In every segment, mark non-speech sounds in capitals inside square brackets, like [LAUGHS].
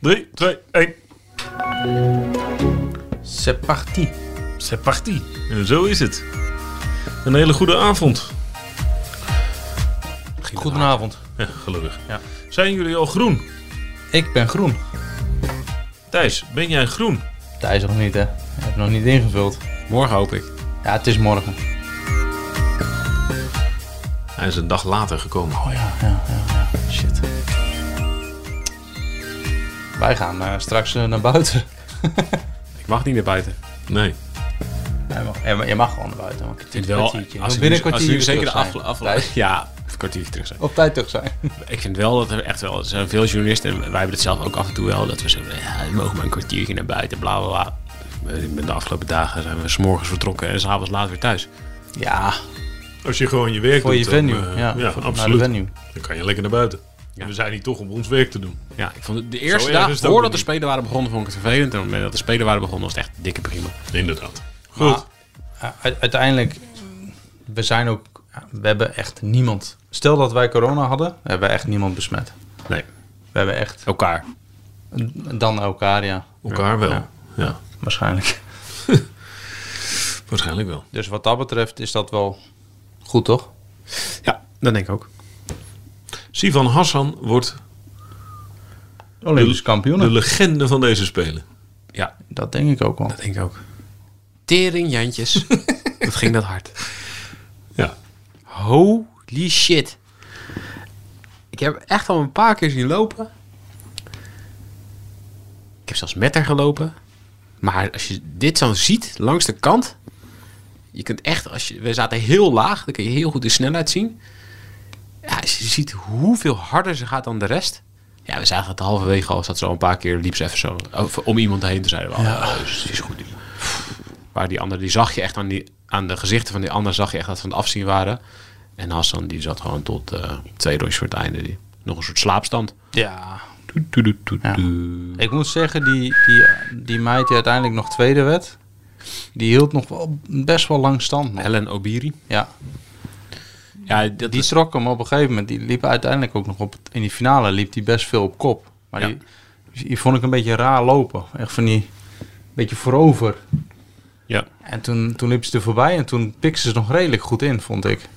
3, 2, 1. C'est parti. C'est parti. En zo is het. Een hele goede avond. Goedenavond. Ja, gelukkig. Ja. Zijn jullie al groen? Ik ben groen. Thijs, ben jij groen? Thijs nog niet, hè? Ik heb nog niet ingevuld. Morgen hoop ik. Ja, het is morgen. Hij is een dag later gekomen. Oh ja, ja, ja. ja. Shit. Wij gaan eh, straks eh, naar buiten. Ik mag niet naar buiten. Nee. Jij mag, ja, maar je mag gewoon naar buiten. Maar ik vind wel- als binnen een nu- als kwartier nu weer zeker terug de zijn. afge- afgelopen... Thijs, Ja, een kwartiertje terug zijn. Op tijd terug zijn. Ik vind wel dat er echt wel... Er zijn veel journalisten... en Wij hebben het zelf ook af en toe wel. Dat we zo... Ja, we mogen maar een kwartiertje naar buiten. Bla, bla, bla. Met de afgelopen dagen zijn we s'morgens vertrokken. En s'avonds laat weer thuis. Ja, Als je gewoon je werk voor doet. je dan, venue. eh, ja, ja voor- naar de absoluut. venue. Dan kan je lekker naar buiten. We zijn hier toch om ons werk te doen. Ja, ik vond het- de eerste erg is dag... het ook Voordat niet. de spelen waren begonnen vond ik het vervelend. En op het moment dat de spelen waren begonnen was het echt dikke prima. Inderdaad. Goed. Ja, u- uiteindelijk, we zijn ook... We hebben echt niemand... Stel dat wij corona hadden, hebben we echt niemand besmet. Nee, We hebben echt... elkaar. Dan elkaar, ja. Elkaar wel. Ja. Ja. Waarschijnlijk. waarschijnlijk wel. Dus wat dat betreft is dat wel goed, toch? Ja, dat denk ik ook. Sivan Hassan wordt Olympisch de kampioen. legende van deze Spelen. Ja, Dat denk ik ook wel. dat denk ik ook. [LAUGHS] Teringjantjes. dat ging dat hard. Ja. Holy shit. Ik heb echt al een paar keer zien lopen. Ik heb zelfs met haar gelopen. Maar als je dit zo ziet, langs de kant. Je kunt echt, als je, we zaten heel laag, dan kun je heel goed de snelheid zien. Ja, als je ziet hoeveel harder ze gaat dan de rest. Ja, we zagen het halverwege al, zat ze al een paar keer, liep ze even zo over- om iemand heen. Toen zeiden we, ja. ze is goed. Waar die andere, die zag je echt aan, die, aan de gezichten van die ander, zag je echt dat ze aan het afzien waren. En Hassan, die zat gewoon tot eh, twee rondjes voor het einde. Die, nog een soort slaapstand. Ja. Ja. Ik moet zeggen, die, die, die meid die uiteindelijk nog tweede werd, die hield nog wel best wel lang stand. nog. Helen Obiri. Ja, Ja, dat die is trok hem op een gegeven moment. Die liep uiteindelijk ook nog op. In die finale liep die best veel op kop. Maar die, die vond ik een beetje raar lopen. Echt van die. Beetje voorover. Ja. En toen, toen liep ze er voorbij en toen pikte ze nog redelijk goed in, vond ik.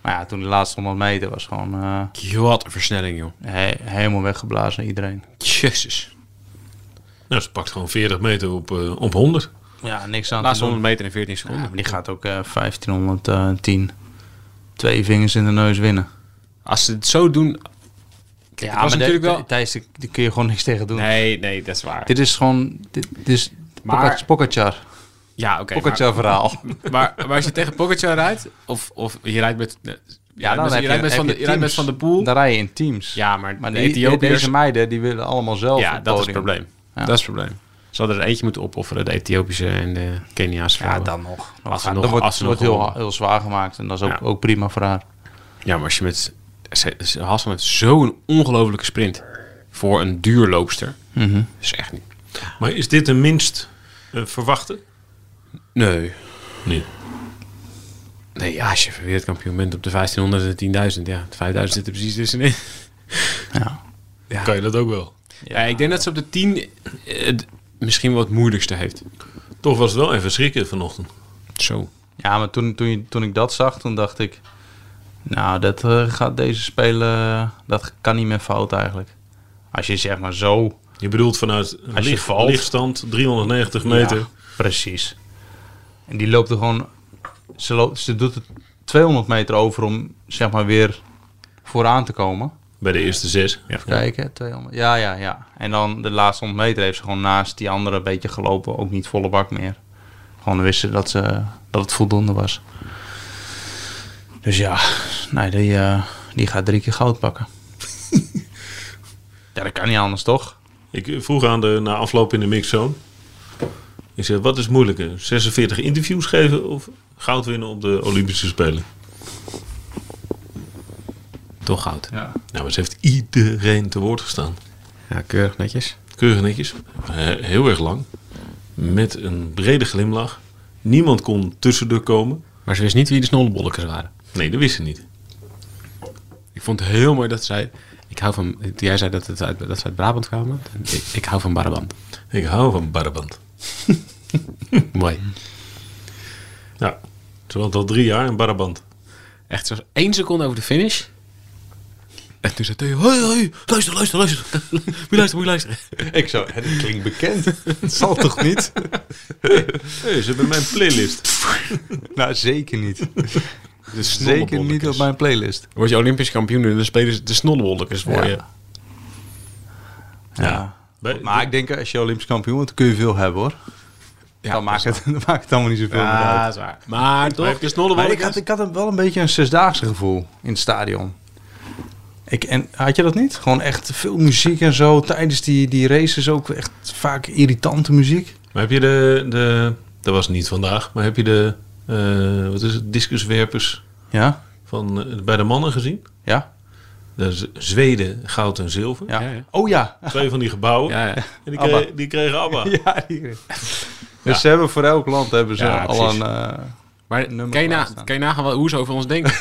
Maar ja, toen de laatste 100 meter was gewoon eh, wat een versnelling, joh. he- helemaal weggeblazen, iedereen. Jezus. Nou, ze pakt gewoon 40 meter op, eh, op 100. Ja, niks aan Laatste te 100 doen. meter in 14 seconden. Ja, maar die gaat ook eh 1510. Twee vingers in de neus winnen. Als ze het zo doen... Kijk, het was natuurlijk wel... Thijs, daar daar kun je gewoon niks tegen doen. Nee, nee, dat is waar. Dit is gewoon... Dit, dit is Maar- maar... Pogacar. Ja, oké. maar- Pogacar verhaal. Maar, maar als je tegen Pogacar rijdt, of, of je rijdt met... Ja, [LAUGHS] dan dus heb je je- rijdt met, heb van je de, je rijdt met teams. Van de Poel. Daar rij je in teams. Ja, maar, Maar de die, Ethiopiërs... deze meiden, die willen allemaal zelf ja, op dat is het podium. probleem. Ja. Dat is het probleem. Ze hadden er eentje moeten opofferen, de Ethiopische en de Keniaanse Ja, vrouwen. dan nog. Dan, Als ze gaat- nog- dan wordt, als ze wordt nog heel, gewonnen. heel zwaar gemaakt. En dat is ook, Ja. ook prima voor haar. Ja, maar als je met... ze- ze- Hassan heeft zo'n ongelofelijke sprint voor een duurloopster. Dat is echt niet... Maar is dit de minst eh, verwachte? Nee. Nee. Nee, ja, als je wereldkampioen bent op de 1500 en de 10.000. Ja, de 5.000 zit er precies tussenin. Ja. Kan je dat ook wel? Ja, ik denk dat ze op de 10 eh, het misschien wel het moeilijkste heeft. Toch was het wel even schrikken vanochtend. Zo. Ja, maar toen, toen, je- toen ik dat zag, toen dacht ik... Nou, dat eh, gaat deze spelen... Dat kan niet meer fout eigenlijk. Als je zeg maar zo... Je bedoelt vanuit Als je licht, valt. lichtstand 390 meter. Ja, precies. En die loopt er gewoon... Ze, loopt, ze doet het 200 meter over om zeg maar weer vooraan te komen. Bij de eerste zes. Ja, Even kijken, 200. Ja, ja, ja. En dan de laatste 100 meter heeft ze gewoon naast die andere een beetje gelopen. Ook niet volle bak meer. Gewoon wisten dat, ze, dat het voldoende was. Dus ja, nee, die, [LAUGHS] eh, die gaat drie keer goud pakken. ja, dat kan niet anders, toch? Ik vroeg aan de na afloop in de mixzone. Ik zei, wat is moeilijker? 46 interviews geven of goud winnen op de Olympische Spelen? Toch goud. Ja. Nou, maar ze heeft iedereen te woord gestaan. Ja, keurig netjes. Keurig netjes. eh, Heel erg lang. Met een brede glimlach. Niemand kon tussendoor komen. Maar ze wist niet wie de snollebollekers waren. Nee, dat wist ze niet. Ik vond het heel mooi dat zij... Ik hou van... Toen jij zei dat, het uit, dat ze uit Brabant kwamen. Ik, ik hou van Brabant. Ik hou van Barband. mooi. Ja, ze woont al drie jaar in Barband. Echt zo één seconde over de finish. En toen zei Theo, hoi, hoi, luister, luister, luister. [LAUGHS] Moet je luisteren, moet je luisteren. Ik zo, hè, dit klinkt bekend. Het zal toch niet? Hé, ze hebben mijn playlist. [LAUGHS] Nou, zeker niet. De [LAUGHS] Zeker niet op mijn playlist. Word je Olympisch kampioen en dan spelen ze de snollewolkers voor Ja. je. Ja. Bij- Maar ik denk, eh, als je Olympisch kampioen wordt, dan kun je veel hebben hoor. Ja, dan, maakt het, [LAUGHS] dan maakt het allemaal niet zoveel meer Ja, uit. dat is waar. Maar toch, de snollewolkers. Maar ik had, ik had wel een beetje een zesdaagse gevoel in het stadion. Ik, en had je dat niet? Gewoon echt veel muziek en zo. Tijdens die, die races ook echt vaak irritante muziek. Maar heb je de, de... Dat was niet vandaag. Maar heb je de... eh, wat is het? Discuswerpers Ja, van, eh, bij de mannen gezien? ja, Dat is Zweden, goud en zilver. ja. Ja, ja. [LAUGHS] Oh ja. Twee van die gebouwen. Ja, ja. En die, Abba. kregen, die [LAUGHS] kregen ABBA. ja hier. Dus ze hebben voor elk land hebben ze Ja, al precies. een... eh, Maar Nummer kan je, na, laatst dan. kan je nagaan wel hoe ze over ons [LAUGHS] denken?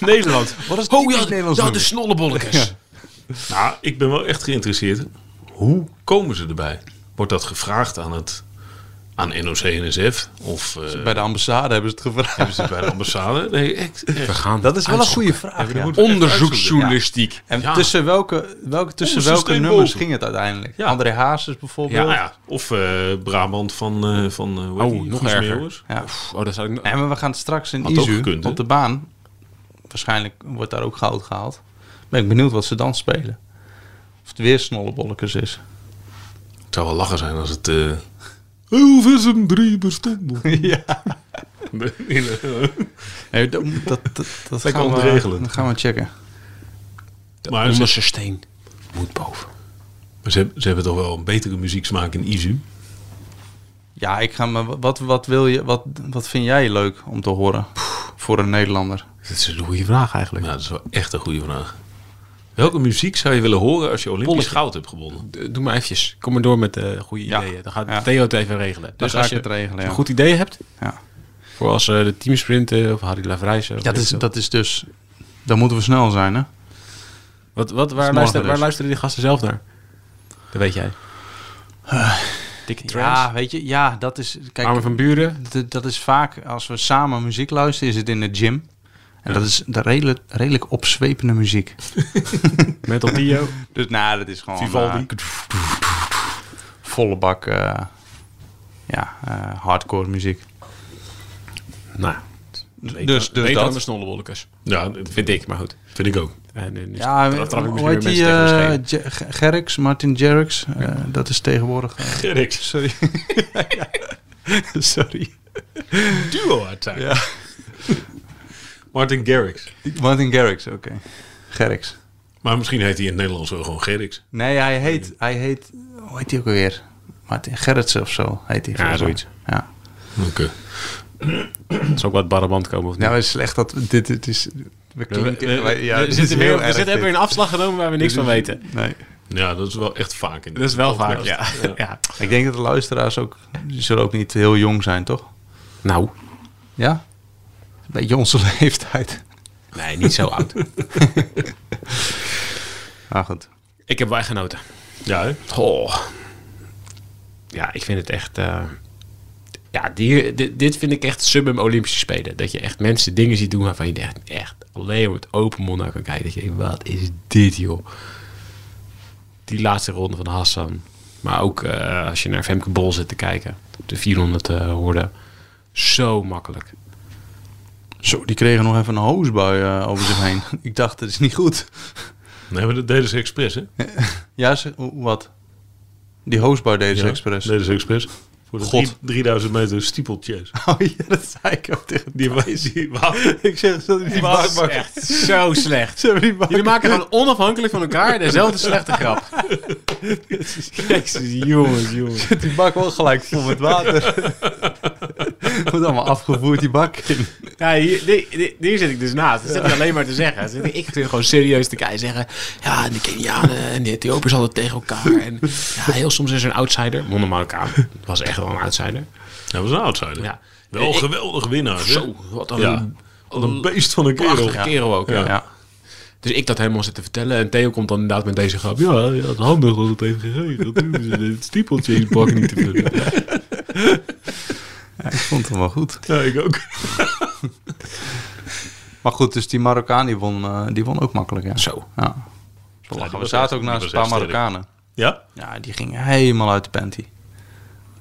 Nederland. wat is het Oh typisch ja, Nederlands ja de nummer? snollebollekers. Nou, ik ben wel echt geïnteresseerd. Hoe komen ze erbij? Wordt dat gevraagd aan het... Aan NOC en NSF? Of eh, Bij de ambassade hebben ze het gevraagd. hebben ze het bij de ambassade? Nee, echt. echt. We gaan Dat is wel een uitzoeken. goede vraag. ja. moet- onderzoeksjournalistiek. En Ja. tussen welke, welke, tussen Onderste welke steen nummers boven. ging het uiteindelijk? Ja. André Hazes bijvoorbeeld. Ja, ja. Of eh, Brabant van, eh, van eh, hoe heet Oh, die? nog Guus erger. Meeuwis. Ja. Oh, dat zou ik... En we gaan straks in Had ook Izu gekund, hè? op de baan. Waarschijnlijk wordt daar ook goud gehaald. Ben ik benieuwd wat ze dan spelen. Of het weer snollebollekes is. [LAUGHS] Het zou wel lachen zijn als het... eh Hilversum 3 bestond. ja. [LAUGHS] Nee, nee, nee. dat dat, dat, dat Lekker gaan, we, ontregelend. dat gaan we checken. maar ze, onderste steen moet boven. ze, hebben- ze hebben toch wel een betere muzieksmaak in Izu. Ja, ik ga me. Wat, wat, wil je, wat, wat vind jij leuk om te horen voor een Nederlander? Dat is een goede vraag eigenlijk. Nou, dat is wel echt een goede vraag. Welke muziek zou je willen horen als je Olympisch Bolletje. goud hebt gewonnen? D- Doe maar eventjes. Kom maar door met de goede Ja. ideeën. Dan gaat Ja. Theo het even regelen. Dus ga als ik je het regelen, als je ja. een goed idee hebt, Ja, voor als eh, de teamsprinten of Harry Lavrijsen. of ja dat, weet is, ik dat is dus. Dan moeten we snel zijn, hè? veel. Wat, wat, waar, morgen luisteren, waar dus. luisteren die gasten zelf naar? Dat weet jij. Eh, Dikke trance. Ja, weet je, ja, dat is. Kijk, Armen van Buren. D- dat is vaak, als we samen muziek luisteren, is het in de gym. En dat is de redelijk, redelijk opzwepende muziek. [LAUGHS] Metal Dio. Dus nou, dat is gewoon... Ah, Vivaldi. eh, volle bak, eh, ja, eh, hardcore muziek. nou, dus beter dan de dat... snollewolkers. Ja, dat Vind ik, maar goed. Vind ik ook. En, en, Ja, eh, dat trap ik misschien hoe heet weer die? mensen tegen de eh, Ge- Ge- Gerrits, Martin Jerricks. eh, dat is tegenwoordig... eh, Gerrit. [LAUGHS] sorry. sorry. Duo uiteindelijk. Martin Garrix. [LAUGHS] Martin Garrix, oké. Gerrix. Maar misschien heet hij in het Nederlands wel gewoon Gerrix. Nee, hij heet, hij heet, hoe heet hij ook alweer? Martin Gerritsen of zo heet hij. volgens mij. zoiets. Ja. Oké. Het zal ook wat baraband komen of niet. Eh, Nou, het is slecht dat dit, dit is. We klinken. we- wij- ja, we dit zitten, is weer, heel we erg zitten hebben weer dit. een afslag genomen waar we niks van weten. Nee. Ja, dat is wel echt vaak. In Dat is wel vaak, podcast. ja. ja. Ik denk dat de luisteraars ook. Die zullen ook niet heel jong zijn, toch? Nou, Ja? Een beetje onze [LAUGHS] leeftijd. nee, niet zo oud. Ah, goed. [LAUGHS] ik heb wel echt genoten. Ja, hè? Goh. Ja, ik vind het echt... eh, ja, die, dit, dit vind ik echt summum Olympische Spelen. Dat je echt mensen dingen ziet doen waarvan je echt, echt alleen maar met open mond naar kan kijken. Dat je denkt, wat is dit, joh? Die laatste ronde van Hassan. Maar ook eh, als je naar Femke Bol zit te kijken. De 400 eh hoorden. Zo makkelijk. Zo, die kregen nog even een hoosbui eh, over zich heen. [LAUGHS] Ik dacht, dat is niet goed. Nee, maar dat deden ze expres, hè? Ja, ze, hoe- wat? Die hoosbui deden ze Ja, expres. Deden ze expres. Voor de God. drie- 3000 meter stiepeltjes. [LAUGHS] Oh ja, dat zei ik ook tegen Die wijzen die wapen. Ik zeg, ze hebben die was bakbak. echt [LAUGHS] zo slecht. Ze hebben die bak- [LAUGHS] Jullie maken gewoon onafhankelijk van elkaar dezelfde slechte grap. Jezus, jongens, jongens. [LAUGHS] Die bak wel gelijk vol met water. Wordt allemaal afgevoerd die bak in. Ja, hier, nee, nee, hier zit ik dus naast. Dat zit hij alleen maar te zeggen. Dan zit ik- ik zit gewoon serieus te kijken zeggen... Ja, en de Kenianen en de Ethiopiërs hadden tegen elkaar. En ja, heel soms is er een outsider. Wonder Marokkaan was echt wel een outsider. Dat was een outsider. Ja. Wel een Ik- geweldig winnaar. hè? Zo, wat een Ja. Wat een beest van een kerel. prachtige kerel ook. Ja. Ja. Dus ik dat helemaal zit te vertellen. En Theo komt dan inderdaad met deze grap. Ja, ja, het handig dat het heeft [LAUGHS] geregeld. Het stiepeltje in pak niet te vullen. ik vond hem wel goed. Ja, ik ook. Maar goed, dus die Marokkaan die won, eh, die won ook makkelijk. Ja. Zo. Ja. Zo lachen. we zaten ook die naast was een paar echt sterk. Marokkanen. Ja? Ja, die gingen helemaal uit de panty.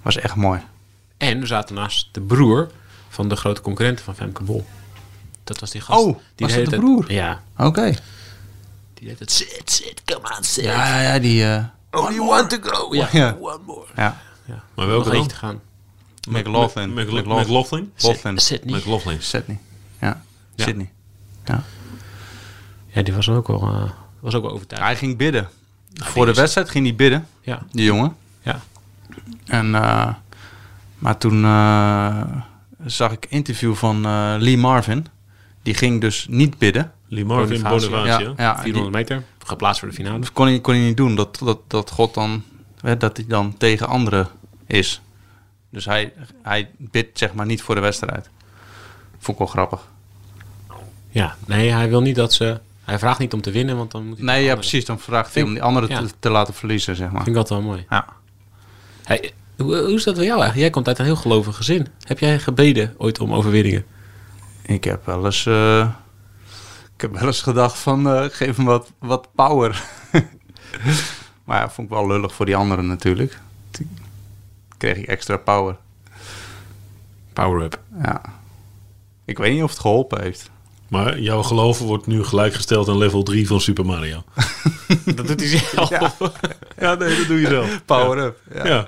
Was echt mooi. En we zaten naast de broer van de grote concurrent van Femke Bol. Dat was die gast. Oh, die was dat hele de tijd- broer? Ja. Oké. Die deed het zit, zit, come on, zit. Ja, ja, die... eh, Only one to go. Ja, Ja. one more. ja. Maar Nog welke eentje dan? te gaan. McLaughlin. Mc- McLaughlin. McLaughlin? Laughlin. Sydney. McLaughlin. Sydney. Ja. Sydney. Ja. Ja, die was dan ook wel, eh, was ook wel overtuigd. Hij ging bidden. Voor de wedstrijd ging hij bidden, Ja, die jongen. ja. En, eh, maar toen eh, zag ik een interview van eh, Lee Marvin. Die ging dus niet bidden. Limar in Bonifacio. Bonavacia. ja 400 meter. Geplaatst voor de finale. Dat kon hij, kon hij niet doen. Dat, dat, dat God dan, hè, dat hij dan tegen anderen is. Dus hij, hij bidt zeg maar niet voor de wedstrijd. Vond ik wel grappig. Ja, nee, hij wil niet dat ze... Hij vraagt niet om te winnen, want dan moet hij... Nee, ja, anderen. precies. Dan vraagt hij om die anderen Ja. te, te laten verliezen, zeg maar. Vind ik dat wel mooi. Ja. Hey, hoe, hoe is dat bij jou eigenlijk? Jij komt uit een heel gelovig gezin. Heb jij gebeden ooit om overwinningen? Ik heb wel eens, eh, ik heb wel eens gedacht van eh, geef hem wat, wat power. [LAUGHS] maar ja, vond ik wel lullig voor die anderen natuurlijk. Toen kreeg ik extra power. Power-up. Ja. Ik weet niet of het geholpen heeft. Maar jouw geloven wordt nu gelijkgesteld aan level 3 van Super Mario. Dat doet hij zelf. [LAUGHS] Ja, nee, dat doe je zelf. Power up. Ja. Ja. ja.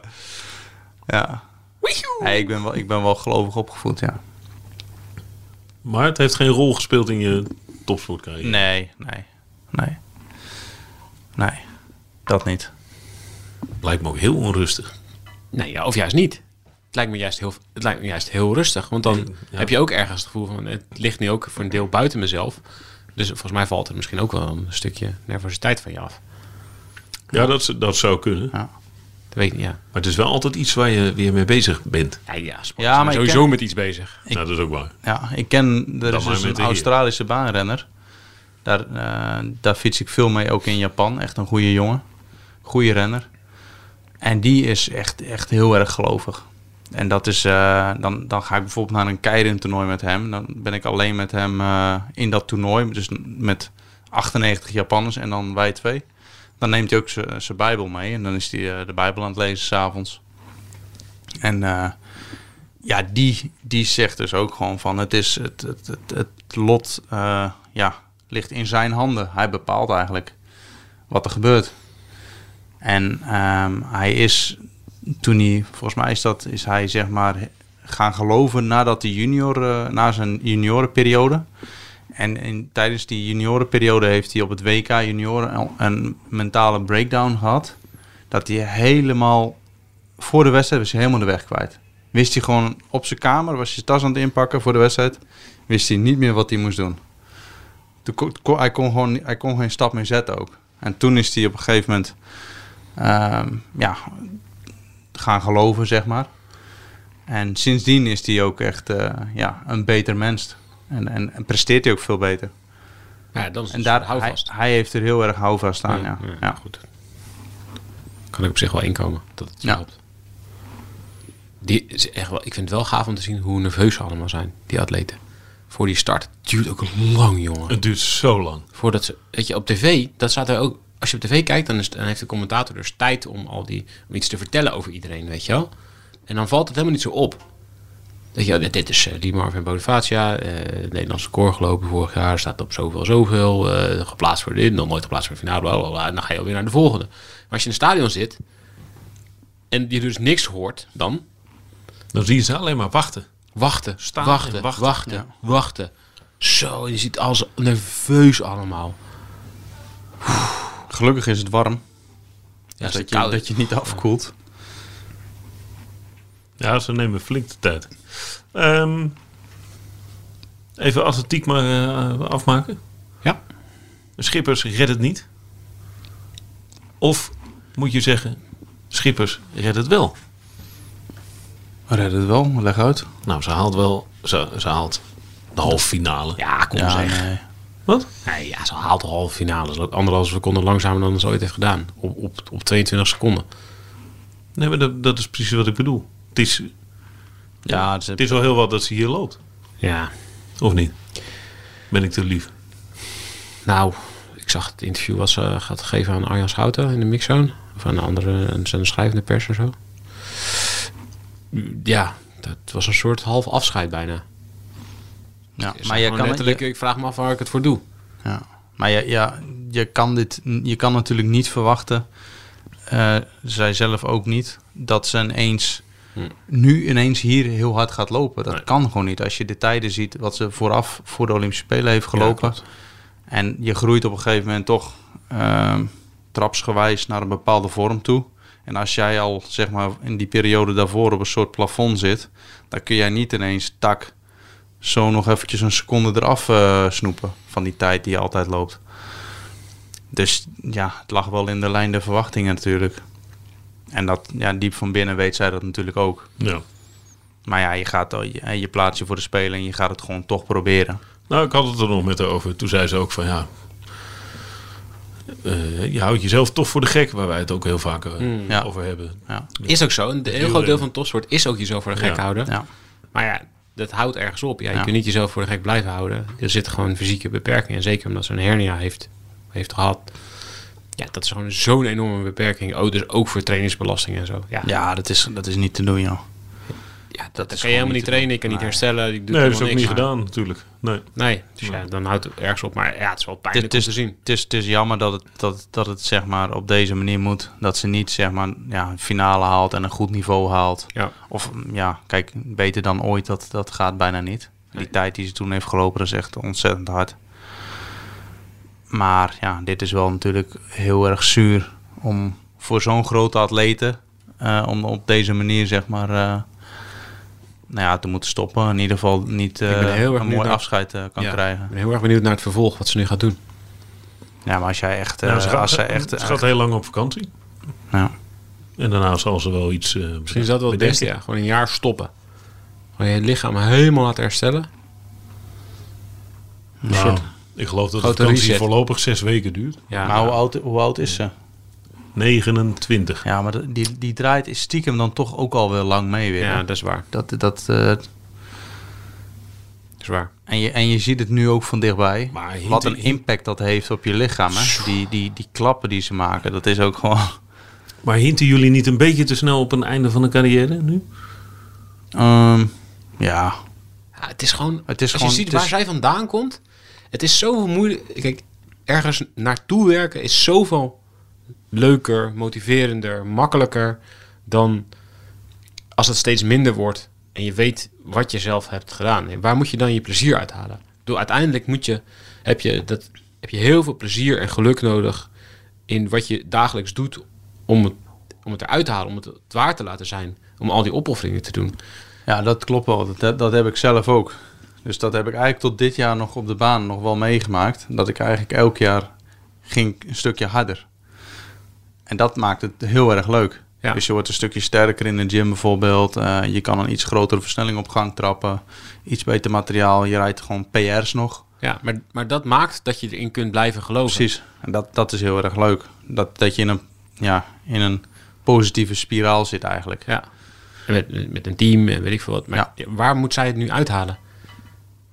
Nee, ik, ben wel, ik ben wel gelovig opgevoed, ja. Maar het heeft geen rol gespeeld in je topsportcarrière. Nee, nee, nee. Nee, dat niet. Lijkt me ook heel onrustig. Nee, ja, of juist niet. Het lijkt, me juist heel, het lijkt me juist heel rustig. Want dan heb je ook ergens het gevoel van... het ligt nu ook voor een deel buiten mezelf. Dus volgens mij valt er misschien ook wel een stukje nervositeit van je af. Ja, dat, z- dat zou kunnen. Ja. Dat weet ik niet, ja. Maar het is wel altijd iets waar je weer mee bezig bent. Ja, ja, sport Ja, is maar ik sowieso ken- met iets bezig. Ja, dat is ook waar. Ja, ik ken, er is maar dus met een de hier. Australische baanrenner. Daar, eh, daar fiets ik veel mee, ook in Japan. Echt een goede jongen. Goede renner. En die is echt, echt heel erg gelovig. En dat is, eh, dan, dan ga ik bijvoorbeeld naar een keirin toernooi met hem. Dan ben ik alleen met hem eh, in dat toernooi. Dus met 98 Japanners en dan wij twee. Dan neemt hij ook zijn Bijbel mee. En dan is hij eh, de Bijbel aan het lezen s'avonds. En eh, ja, die, die zegt dus ook gewoon van het is het, het, het, het lot eh, ja, ligt in zijn handen. Hij bepaalt eigenlijk wat er gebeurt. En ehm, hij is toen hij, volgens mij is dat, is hij zeg maar gaan geloven nadat de junior, eh, na zijn juniorenperiode. En in, tijdens die juniorenperiode heeft hij op het WK junioren een mentale breakdown gehad. Dat hij helemaal voor de wedstrijd was hij helemaal de weg kwijt. Wist hij gewoon op zijn kamer, was hij zijn tas aan het inpakken voor de wedstrijd. Wist hij niet meer wat hij moest doen. Toen kon- kon- hij, kon gewoon, hij kon geen stap meer zetten ook. En toen is hij op een gegeven moment ehm, ja, gaan geloven, zeg maar. En sindsdien is hij ook echt eh, ja, een beter mens. En, en, en presteert hij ook veel beter. Ja, dan is En het daar, hij, houvast. hij heeft er heel erg houvast aan. Ja, Ja, ja, ja, goed. Kan ik op zich wel inkomen dat het Ja. helpt. Die is echt wel, ik vind het wel gaaf om te zien hoe nerveus ze allemaal zijn, die atleten. Voor die start. Het duurt ook lang, jongen. Het duurt zo lang. Voordat ze, weet je, op tv, dat staat er ook. Als je op tv kijkt, dan, is, dan heeft de commentator dus tijd om al die, om iets te vertellen over iedereen, weet je wel. En dan valt het helemaal niet zo op. Dat je, dit is eh, die Marvin Bonifacia, eh Nederlandse koor gelopen vorig jaar, staat op zoveel, zoveel, eh, geplaatst voor dit, nog nooit geplaatst voor de finale, bla, bla, bla. en dan ga je alweer naar de volgende. Maar als je in een stadion zit en je dus niks hoort, dan Dan zie je ze alleen maar wachten. wachten, Staan wachten, en wachten, wachten, wachten, Zo, en je ziet alles nerveus allemaal. Gelukkig is het warm. dus is dat, te je, koud. dat je niet afkoelt. Ja, ze nemen flink de tijd. Ehm, even atletiek maar eh, afmaken. Ja. Schippers redt het niet. Of moet je zeggen, Schippers redt het wel. Red het wel, leg uit. Nou, ze haalt wel, ze, ze haalt de halve finale. Ja, kom zeg. nee. Wat? Nee, Eh, ja, ze haalt de halve finale. Dat is ook anderhalve seconde langzamer dan ze ooit heeft gedaan. Op, op, op 22 seconden. Nee, maar dat, dat is precies wat ik bedoel. Het is, Ja, het is, het is wel heel wat dat ze hier loopt. Ja. Of niet? Ben ik te lief? Nou, ik zag het interview wat ze eh, gaat geven aan Arjan Schouten in de mixzone. Of aan de andere, aan zijn schrijvende pers en zo. Ja, dat was een soort half afscheid bijna. ja. Ze Maar zei je gewoon kan letterlijk, je- ik vraag me af waar ik het voor doe. Ja. Maar ja, ja, je, kan dit, je kan natuurlijk niet verwachten, eh, zij zelf ook niet, dat ze ineens, nu ineens hier heel hard gaat lopen. Dat kan gewoon niet. Als je de tijden ziet wat ze vooraf voor de Olympische Spelen heeft gelopen. en je groeit op een gegeven moment toch eh, trapsgewijs naar een bepaalde vorm toe. En als jij al zeg maar in die periode daarvoor op een soort plafond zit, dan kun jij niet ineens tak zo nog eventjes een seconde eraf eh, snoepen van die tijd die je altijd loopt. Dus ja, het lag wel in de lijn der verwachtingen natuurlijk. En dat, ja, diep van binnen weet zij dat natuurlijk ook. Ja. Maar ja, je, gaat, al- je, je plaatst je voor de Spelen en je gaat het gewoon toch proberen. Nou, ik had het er nog met haar over. Toen zei ze ook van ja. eh, je houdt jezelf toch voor de gek, waar wij het ook heel vaak eh, Hmm. Ja. over hebben. Ja, Is ook zo. Een heel groot deel van het topsport is ook jezelf voor de gek Ja. houden. ja. Maar ja, dat houdt ergens op. Ja, je Ja. kunt niet jezelf voor de gek blijven houden. Er zitten gewoon fysieke beperkingen. En zeker omdat ze een hernia heeft, heeft gehad. Ja, dat is gewoon zo'n enorme beperking. Oh, dus ook voor trainingsbelasting en zo. Ja, ja dat, is, dat is niet te doen, joh. ja dat, kan je gewoon helemaal niet niet te trainen. Ik kan niet herstellen. Ik doe Nee, dat helemaal is ook niks. niet gedaan natuurlijk. Nee. Nee, dus ja, dan houdt het ergens op. Maar ja, het is wel pijnlijk Het is- om te zien. Het is, het is jammer dat het, dat, dat het zeg maar, op deze manier moet. Dat ze niet zeg maar, ja, een finale haalt en een goed niveau haalt. Ja. Of mm, ja, kijk, beter dan ooit, dat, dat gaat bijna niet. Die tijd die ze toen heeft gelopen, dat is echt ontzettend hard. Maar ja, dit is wel natuurlijk heel erg zuur om voor zo'n grote atleten, eh, om op deze manier zeg maar, eh, nou ja, te moeten stoppen. In ieder geval niet eh, ben heel erg een benieuwd mooi naar- afscheid eh, kan Ja. krijgen. Ik ben heel erg benieuwd naar het vervolg, wat ze nu gaat doen. Ja, maar als jij echt... eh, Nou, ze gaat, als zij echt ze gaat heel lang op vakantie. Ja. En daarna zal ze wel iets. eh, Misschien is dat wel het bedenken. beste, ja. Gewoon een jaar stoppen. Gewoon je lichaam helemaal laten herstellen. Nou, ik geloof dat de Grote vakantie reset. voorlopig zes weken duurt. Ja, maar hoe oud, hoe oud is ze? 29. Ja, maar dat- die, die draait is stiekem dan toch ook al wel lang mee weer. ja, hè? dat is waar. dat, dat, eh, Dat is waar. en, je, en je ziet het nu ook van dichtbij. Maar hier- Wat een impact dat heeft op je lichaam. Hè? Die, die, die klappen die ze maken, dat is ook gewoon... Maar hinten jullie niet een beetje te snel op een einde van de carrière nu? Ehm, ja, Ja, het is gewoon. Het is als gewoon- je ziet het waar is- zij vandaan komt. Het is zoveel moeilijk. Kijk, ergens naartoe werken is zoveel leuker, motiverender, makkelijker dan als het steeds minder wordt en je weet wat je zelf hebt gedaan. En waar moet je dan je plezier uithalen? Door uiteindelijk moet je, heb, je dat, heb je heel veel plezier en geluk nodig in wat je dagelijks doet om het, om het eruit te halen, om het het waar te laten zijn, om al die opofferingen te doen. ja, dat klopt wel. Dat- Dat, dat heb ik zelf ook. Dus dat heb ik eigenlijk tot dit jaar nog op de baan nog wel meegemaakt. Dat ik eigenlijk elk jaar ging een stukje harder. En dat maakt het heel erg leuk. Ja. Dus je wordt een stukje sterker in de gym bijvoorbeeld. Eh, je kan een iets grotere versnelling op gang trappen. Iets beter materiaal. Je rijdt gewoon PR's nog. Ja, maar, maar dat maakt dat je erin kunt blijven geloven. Precies. En dat, dat is heel erg leuk. Dat, dat je in een, ja, in een positieve spiraal zit eigenlijk. Ja. En met, met een team en weet ik veel wat. Maar waar moet zij het nu uithalen?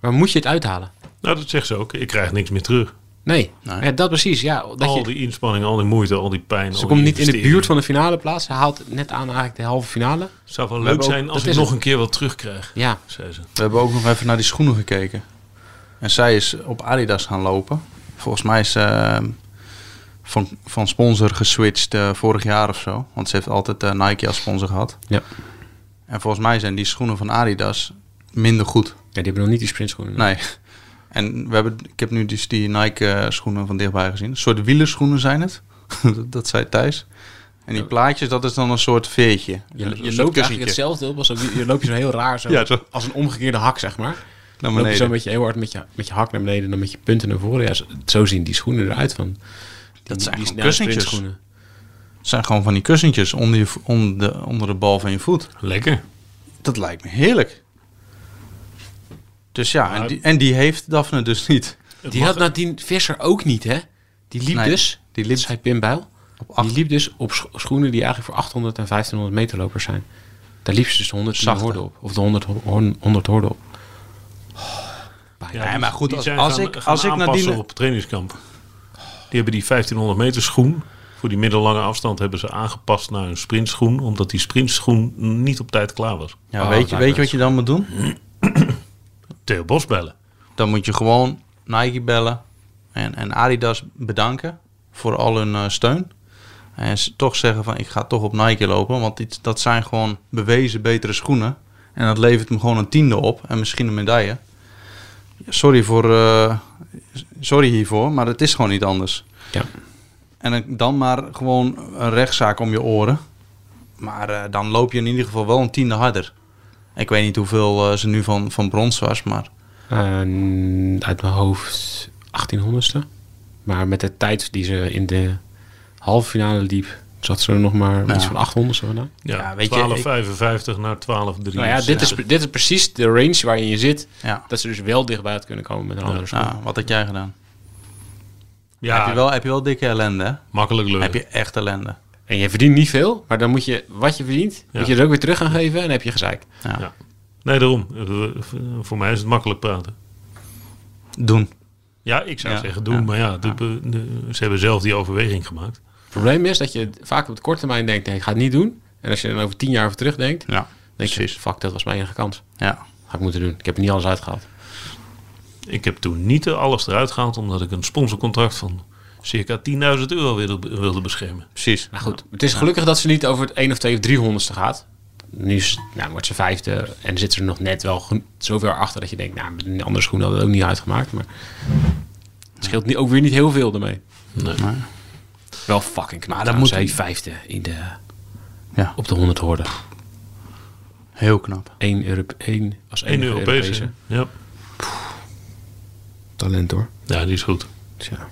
Waar moet je het uithalen? Nou, dat zegt ze ook. Ik krijg niks meer terug. Nee, Nee. Ja, dat precies. Ja, dat al je, die inspanning, al die moeite, al die pijn. ze komt niet in de buurt van de finale plaats. Ze haalt net aan eigenlijk de halve finale. Het zou wel We leuk hebben ook- zijn als dat ik is nog het. een keer wat terugkrijg, Ja, zei ze. We hebben ook nog even naar die schoenen gekeken. En zij is op Adidas gaan lopen. Volgens mij is ze eh, van, van sponsor geswitcht eh, vorig jaar of zo. Want ze heeft altijd eh, Nike als sponsor gehad. Ja. En volgens mij zijn die schoenen van Adidas minder goed. ja die hebben nog niet die sprintschoenen. Nee. En we hebben, ik heb nu dus [LAUGHS] die Nike eh, schoenen van dichtbij gezien. Een soort wielerschoenen zijn het. dat zei Thijs. En die plaatjes, dat is dan een soort veertje. Je, Een je soort loopt eigenlijk kussentje. hetzelfde op als een, je loopt je zo heel raar zo, Ja, zo. als een omgekeerde hak zeg maar. Dan naar loop je zo beneden. met je heel hard met je, met je hak naar beneden en dan met je punten naar voren. Ja, zo, zo zien die schoenen eruit van. Die- Dat zijn die gewoon snelle kussentjes. sprintschoenen. Het zijn gewoon van die kussentjes onder, je, vo- onder, de, onder de bal van je voet. Lekker. Dat lijkt me heerlijk. Dus ja, en die, en die heeft Daphne dus niet. Die had Nadine Visser ook niet hè? Die liep Nee, dus, die liep- dat zei Pim Bijl, Op acht. die liep dus op scho- schoenen die eigenlijk voor 800 en 1500 meter lopers zijn. Daar liep ze dus de 100 Zachte. hoorden op. Of de 100, ho- hoorn- 100 hoorden op. Ja, maar goed, als- zijn als gaan- ik- gaan als ik aanpassen Nadine- op trainingskamp. Die hebben die 1500 meter schoen. Voor die middellange afstand hebben ze aangepast naar een sprintschoen. Omdat die sprintschoen niet op tijd klaar was. Ah. Ja, Oh, weet, je, nou, weet dat je wat je dan moet doen? Theo Bos bellen. Dan moet je gewoon Nike bellen en, en Adidas bedanken voor al hun eh, steun. En s- toch zeggen van ik ga toch op Nike lopen, want dit, dat zijn gewoon bewezen betere schoenen. En dat levert me gewoon een tiende op en misschien een medaille. Sorry, voor, eh, sorry hiervoor, maar het is gewoon niet anders. Ja. En dan- dan maar gewoon een rechtszaak om je oren. Maar eh, dan loop je in ieder geval wel een tiende harder. Ik weet niet hoeveel eh, ze nu van, van brons was, maar En uit mijn hoofd 1800ste. Maar met de tijd die ze in de halve finale liep, zat ze er nog maar iets van 800ste vandaan. Ja, Ja, weet je, 1255 naar 12,3. Nou ja, dit is, dit is precies de range waarin je zit. dus, ja. Dat ze dus wel dichtbij had kunnen komen met een andere schoen. Ja, nou, wat had jij gedaan? Ja, Heb, je wel, heb je wel dikke ellende, hè? makkelijk lukken. Heb je echt ellende. En je verdient niet veel, maar dan moet je wat je verdient, Ja. moet je er ook weer terug gaan geven en dan heb je gezeik. Ja. Nee, daarom. Eh, v- Voor mij is het makkelijk praten. Doen. Ja, ik zou Ja, zeggen doen. ja, maar ja, de- de- ze hebben zelf die overweging gemaakt. Het probleem is dat je vaak op de korte termijn denkt, nee, ik ga het niet doen. En als je dan over tien jaar over terugdenkt, Ja, denk je, precies. fuck, dat was mijn enige kans. Ja. Ga ik moeten doen. Ik heb er niet alles uitgehaald. Ik heb toen niet eh, alles eruit gehaald... omdat ik een sponsorcontract van circa 10.000 euro wilde, wilde beschermen. Precies. Maar goed, het is gelukkig dat ze niet over het 1 of 2 of 300ste gaat. Nu is, nou, wordt ze vijfde en zit ze er nog net wel geno- zoveel achter dat je denkt, nou, met een andere schoen hadden we het ook niet uitgemaakt. Maar het scheelt niet, ook weer niet heel veel ermee. Nee. Wel fucking knap. dat Dan moet- moet hij vijfde in de, Ja. op de 100 hoorden. Heel knap. 1 Europe, één als Eén enige Europese. Europese. Ja. Talent hoor. ja, die is goed. Dus ja,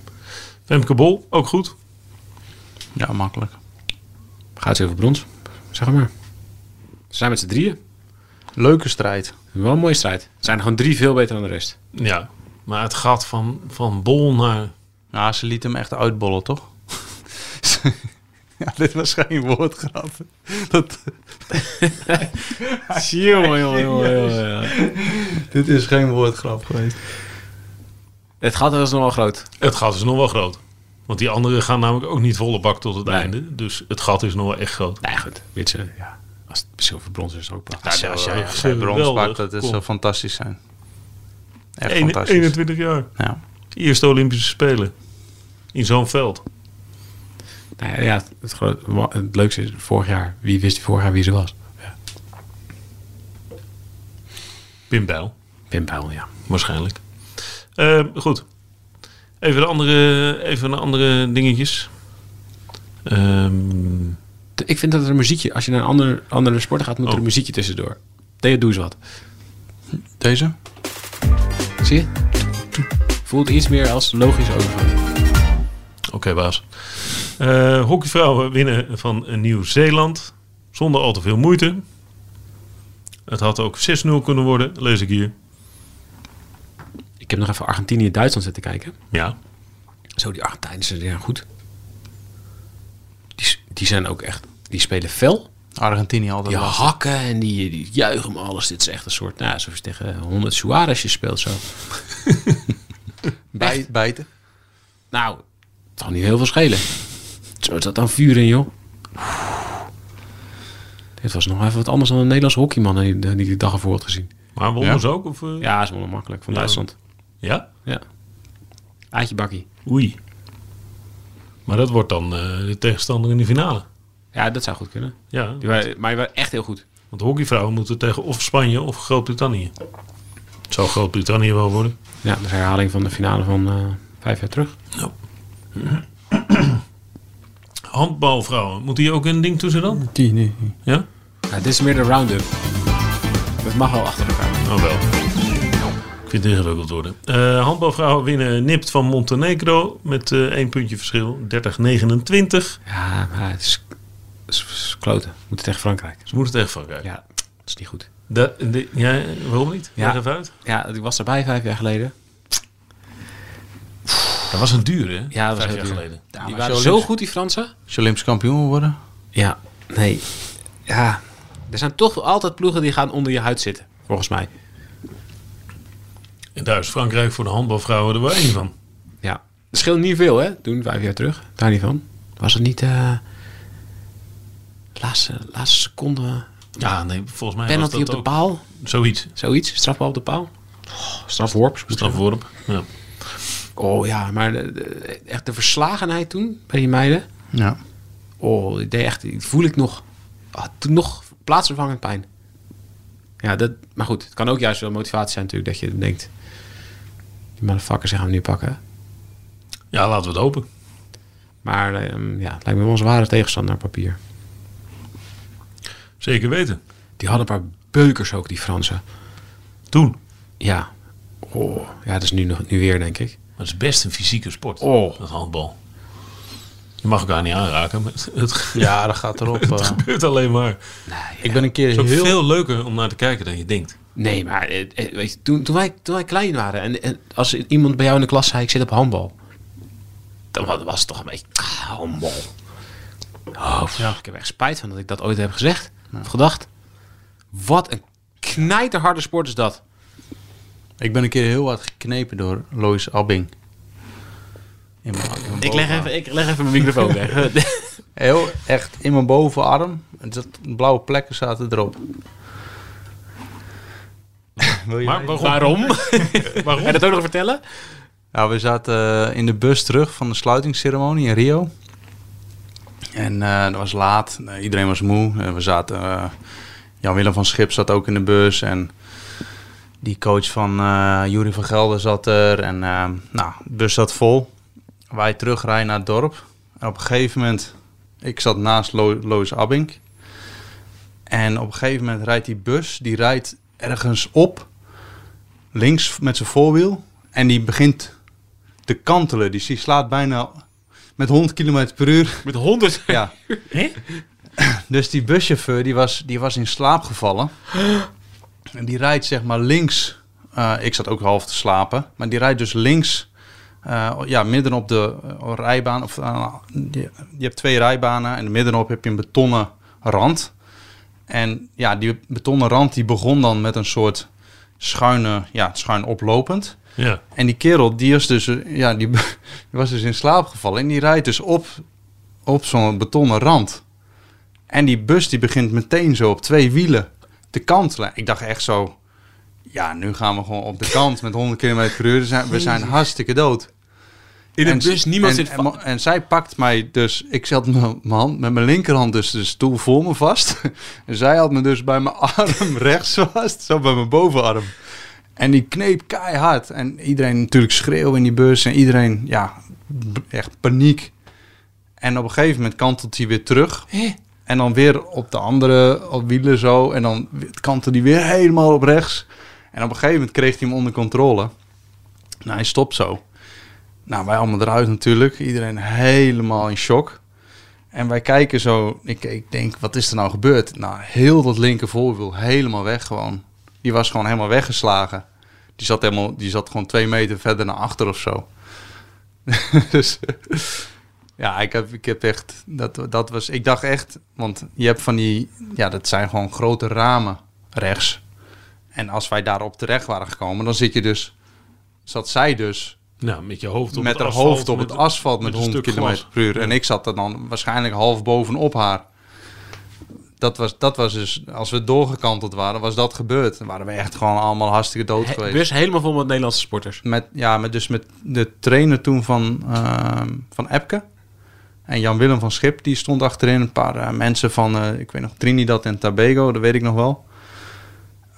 Femke Bol, ook goed. Ja, makkelijk. gaat ze over brons, zeg maar. Ze zijn met z'n drieën. Leuke strijd. Wel een mooie strijd. Er zijn er gewoon drie veel beter dan de rest. Ja. Maar het gaat van, van Bol naar... Nou, ze liet hem echt uitbollen, toch? [LAUGHS] ja, dit was geen woordgrap. Dat, Jongen, jongen, [LAUGHS] dit is geen woordgrap geweest. Het gaat wel eens nog wel groot. Het gat is nog wel groot. Want die anderen gaan namelijk ook niet volle bak tot het Nee. einde. Dus het gat is nog wel echt groot. Nee, goed. Weet je, ja. Als het zilver brons is, is het ook prachtig. Als, als jij, als jij geweldig. brons pakt, dat is Kom. zo fantastisch zijn. Echt Een- fantastisch. 21 jaar. Ja. Eerste Olympische Spelen. In zo'n veld. Nou ja, ja, het, gro- wa- het leukste is, vorig jaar, wie wist vorig jaar wie ze was? Pim Bijl, Pim Bijl, ja. waarschijnlijk. Eh, goed. Even de andere, even de andere dingetjes. Ehm, De- Ik vind dat er een muziekje, als je naar een ander, andere sport gaat, moet er Oh. een muziekje tussendoor. Theo, doe eens wat. Deze? Zie je? Voelt iets meer als logisch overgaan. Oké, baas. Eh, hockeyvrouwen winnen van eh, Nieuw-Zeeland. Zonder al te veel moeite. Het had ook 6-0 kunnen worden, lees ik hier. Ik heb nog even Argentinië-Duitsland zitten kijken. Ja. Zo, die Argentijnen zijn ja, goed. Die, s- die zijn ook echt, die spelen fel. Argentinië altijd Die lastig. hakken en die, die juichen om alles. Dit is echt een soort, nou, alsof je tegen 100 Suarezjes speelt zo. Bij- bijten. Nou, het zal niet heel veel schelen. Zo is dat dan vuur in, joh. Dit was nog even wat anders dan een Nederlands hockeyman die, die ik de dag ervoor had gezien. Maar wonnen Ja. ze ook? Of, eh? Ja, is wel makkelijk. Van Ja. Duitsland. ja? Ja. Aatje bakkie. Oei. Maar dat wordt dan eh, de tegenstander in de finale. Ja, dat zou goed kunnen. Ja, Die waren, maar die waren echt heel goed. want hockeyvrouwen moeten tegen of Spanje of Groot-Brittannië. Het zou Groot-Brittannië wel worden. Ja, dat is een herhaling van de finale van eh, vijf jaar terug. handbalvrouwen, moet die ook een ding tussen dan? Die, die, die. Ja? Ja, dit is meer de round-up. Dat mag wel achter elkaar. Nou wel. Ik vind het ingewikkeld worden. Eh, handbalvrouwen winnen nipt van Montenegro met eh één puntje verschil. 30-29. Ja, maar het is, het is, het is kloten. Moet het echt Frankrijk. Ze moeten tegen Frankrijk. Ja, dat is niet goed. Da- de- ja, waarom niet? Ja. Leg even uit. Ja, ik was erbij vijf jaar geleden. Dat was een duur, hè? Ja, dat was Vijf heel jaar duur. geleden. die maar waren zo zo links- goed, die Fransen. Als je Olympisch kampioen wil worden. Ja, nee. Ja, er zijn toch altijd ploegen die gaan onder je huid zitten, volgens mij. En daar is Frankrijk voor de handbalvrouwen er wel één van. Ja. Het scheelt niet veel, hè? Toen, vijf jaar terug. Daar niet van. Was het niet... eh laatste, laatste seconde... Ja, nee, volgens mij Penalty was op dat de ook paal. zoiets. Zoiets. Strafbal op de paal. Oh, strafworp. Strafworp. Ja. Oh ja, maar de- de- echt de verslagenheid toen bij die meiden. Ja. Oh, ik deed echt, die voel ik nog. Ah, toen nog plaatsvervangend pijn. Ja, dat, maar goed, het kan ook juist wel motivatie zijn natuurlijk dat je denkt... Die motherfuckers gaan we nu pakken. ja, laten we het hopen. Maar ehm, ja, het lijkt me wel een zware tegenstander op papier. Zeker weten. Die hadden een paar beukers ook, die Fransen. Toen. Ja. Oh, ja, dat is nu, nog, nu weer, denk ik. Maar het is best een fysieke sport, Oh. dat handbal. Je mag elkaar niet aanraken, maar [LAUGHS] het, het Ja, dat [LAUGHS] gaat erop. eh. gebeurt alleen maar. ik ben een keer Het is ook heel... veel leuker om naar te kijken dan je denkt. Nee, maar eh, eh, weet je, toen, toen, wij, toen wij klein waren en, en als iemand bij jou in de klas zei: Ik zit op handbal, dan wa- was het toch een beetje ah, handbal. Oh, pff, Ik heb echt spijt van dat ik dat ooit heb gezegd. Of gedacht. Wat een knijterharde sport is dat. Ik ben een keer heel hard geknepen door Lois Abbing. In mijn- in mijn bovenarm. ik leg even mijn microfoon weg. [LAUGHS] Heel echt in mijn bovenarm. En dat blauwe plekken zaten erop. Wil je Maar weten? waarom? [LAUGHS] Waarom? Ga je dat ook nog vertellen? Nou, we zaten eh, in de bus terug van de sluitingsceremonie in Rio. En eh dat was laat. Eh, iedereen was moe. Eh, we zaten... eh, Jan-Willem van Schip zat ook in de bus. En die coach van eh Jury van Gelder zat er. En eh, nou, de bus zat vol. Wij terugrijden naar het dorp. En op een gegeven moment... Ik zat naast Lo- Lois Abbink. En op een gegeven moment rijdt die bus... Die rijdt ergens op. Links met zijn voorwiel. En die begint te kantelen. Dus die slaat bijna met 100 km per uur. Met honderd. [LAUGHS] Ja. dus die buschauffeur die was, die was in slaap gevallen. En die rijdt zeg maar links. eh, ik zat ook half te slapen. Maar die rijdt dus links. eh, ja, midden op de eh, rijbaan. Of, eh, je, je hebt twee rijbanen. En middenop heb je een betonnen rand. En ja, die betonnen rand die begon dan met een soort schuine, ja, schuin oplopend. Ja. En die kerel, die was dus, eh, ja, die, [LAUGHS] die was dus in slaap gevallen. En die rijdt dus op, op zo'n betonnen rand. En die bus die begint meteen zo op twee wielen te kantelen. Ik dacht echt zo, ja, nu gaan we gewoon op de kant met 100 km per uur. We zijn, we zijn hartstikke dood. In een En- bus, niemand en, zit en, vast. ma- en zij pakt mij dus, ik zat met mijn hand, met mijn linkerhand dus de stoel voor me vast. [LAUGHS] En zij had me dus bij mijn arm [LAUGHS] rechts vast, zo bij mijn bovenarm. En die kneep keihard. En iedereen natuurlijk schreeuwen in die bus. En iedereen, ja, b- echt paniek. En op een gegeven moment kantelt hij weer terug. En dan weer op de andere op wielen zo. En dan kantelde hij weer helemaal op rechts. En op een gegeven moment kreeg hij hem onder controle. Nou, hij stopt zo. Nou, wij allemaal eruit natuurlijk. Iedereen helemaal in shock. En wij kijken zo. Ik, ik denk, wat is er nou gebeurd? Nou, heel dat linker voorwiel helemaal weg gewoon. Die was gewoon helemaal weggeslagen. Die zat, helemaal, die zat gewoon twee meter verder naar achter of zo. [LAUGHS] dus ja, ik heb, ik heb echt... Dat, dat was, ik dacht echt... Want je hebt van die... Ja, dat zijn gewoon grote ramen rechts. En als wij daarop terecht waren gekomen... dan zit je dus... Zat zij dus Nou, met je hoofd op met het haar asfalt, hoofd op het asfalt met, met een 100 stuk km glas. per uur. En ik zat er dan waarschijnlijk half bovenop haar. Dat was, dat was dus, als we doorgekanteld waren, was dat gebeurd. Dan waren we echt gewoon allemaal hartstikke dood He- geweest. bus helemaal vol met Nederlandse sporters. Met, ja, met, dus met de trainer toen van, ehm, van Epke. En Jan-Willem van Schip, die stond achterin. Een paar eh, mensen van, eh, ik weet nog, Trinidad en Tobago, dat weet ik nog wel.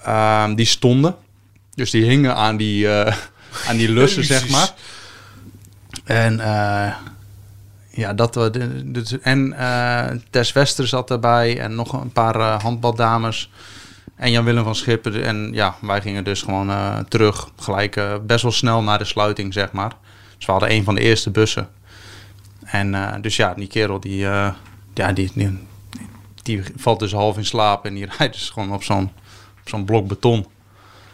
Ehm, die stonden. Dus die hingen aan die, eh, aan die lussen, zeg maar. En eh, Ja, dat, we de- de- en eh Tess Wester zat daarbij en nog een paar eh, handbaldames. En Jan-Willem van Schippen. En ja, wij gingen dus gewoon eh, terug. Gelijk eh, best wel snel naar de sluiting, zeg maar. Dus we hadden een van de eerste bussen. En eh, dus ja, die kerel die, eh, ja, die, die, die valt dus half in slaap. En die [LAUGHS] rijdt dus gewoon op zo'n op zo'n blok beton.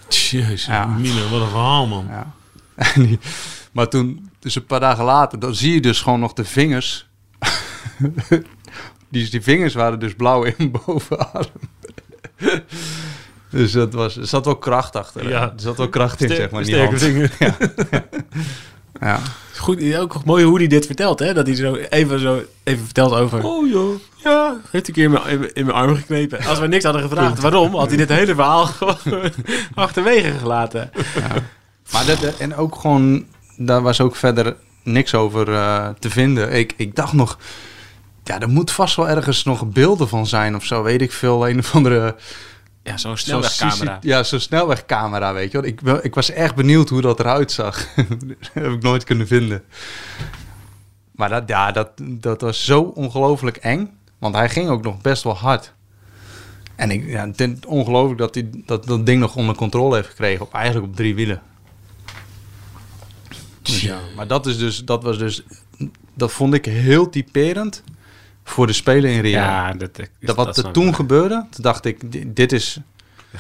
Jezus, Ja. Mina, wat een verhaal, man. Ja. [LAUGHS] En die- maar toen, dus een paar dagen later, dan zie je dus gewoon nog de vingers. [LAUGHS] die, die vingers waren dus blauw in [LAUGHS] bovenarm. dus dat was, er zat wel kracht achter. Ja. Ja. Er zat wel kracht in, Ster- zeg maar. in Sterke die hand. [LAUGHS] vinger. Ja. Goed, ook mooi hoe hij dit vertelt, hè? Dat hij zo even, zo even vertelt over... Oh joh. Ja, heeft een keer in mijn, in mijn- in mijn arm geknepen. Als we niks hadden gevraagd waarom, had hij dit hele verhaal gewoon achterwege gelaten. Maar dat, eh, en ook gewoon, daar was ook verder niks over eh, te vinden. Ik, ik dacht nog, ja, er moet vast wel ergens nog beelden van zijn of zo. Weet ik veel, een of andere... Ja, zo'n Zo'n CC Ja, zo'n snelwegcamera, weet je wel. Ik, wel- ik was echt benieuwd hoe dat eruit zag. [LAUGHS] dat heb ik nooit kunnen vinden. Maar dat, ja, dat, dat was zo ongelooflijk eng. Want hij ging ook nog best wel hard. En ik, ja, het is ongelooflijk dat hij dat, dat ding nog onder controle heeft gekregen. Op, eigenlijk op drie wielen. Dus ja, maar dat, is dus, dat was dus... Dat vond ik heel typerend voor de Spelen in Rio. Ja, dat, dat, dat, wat er toen gebeurde, toen dacht ik, di- dit is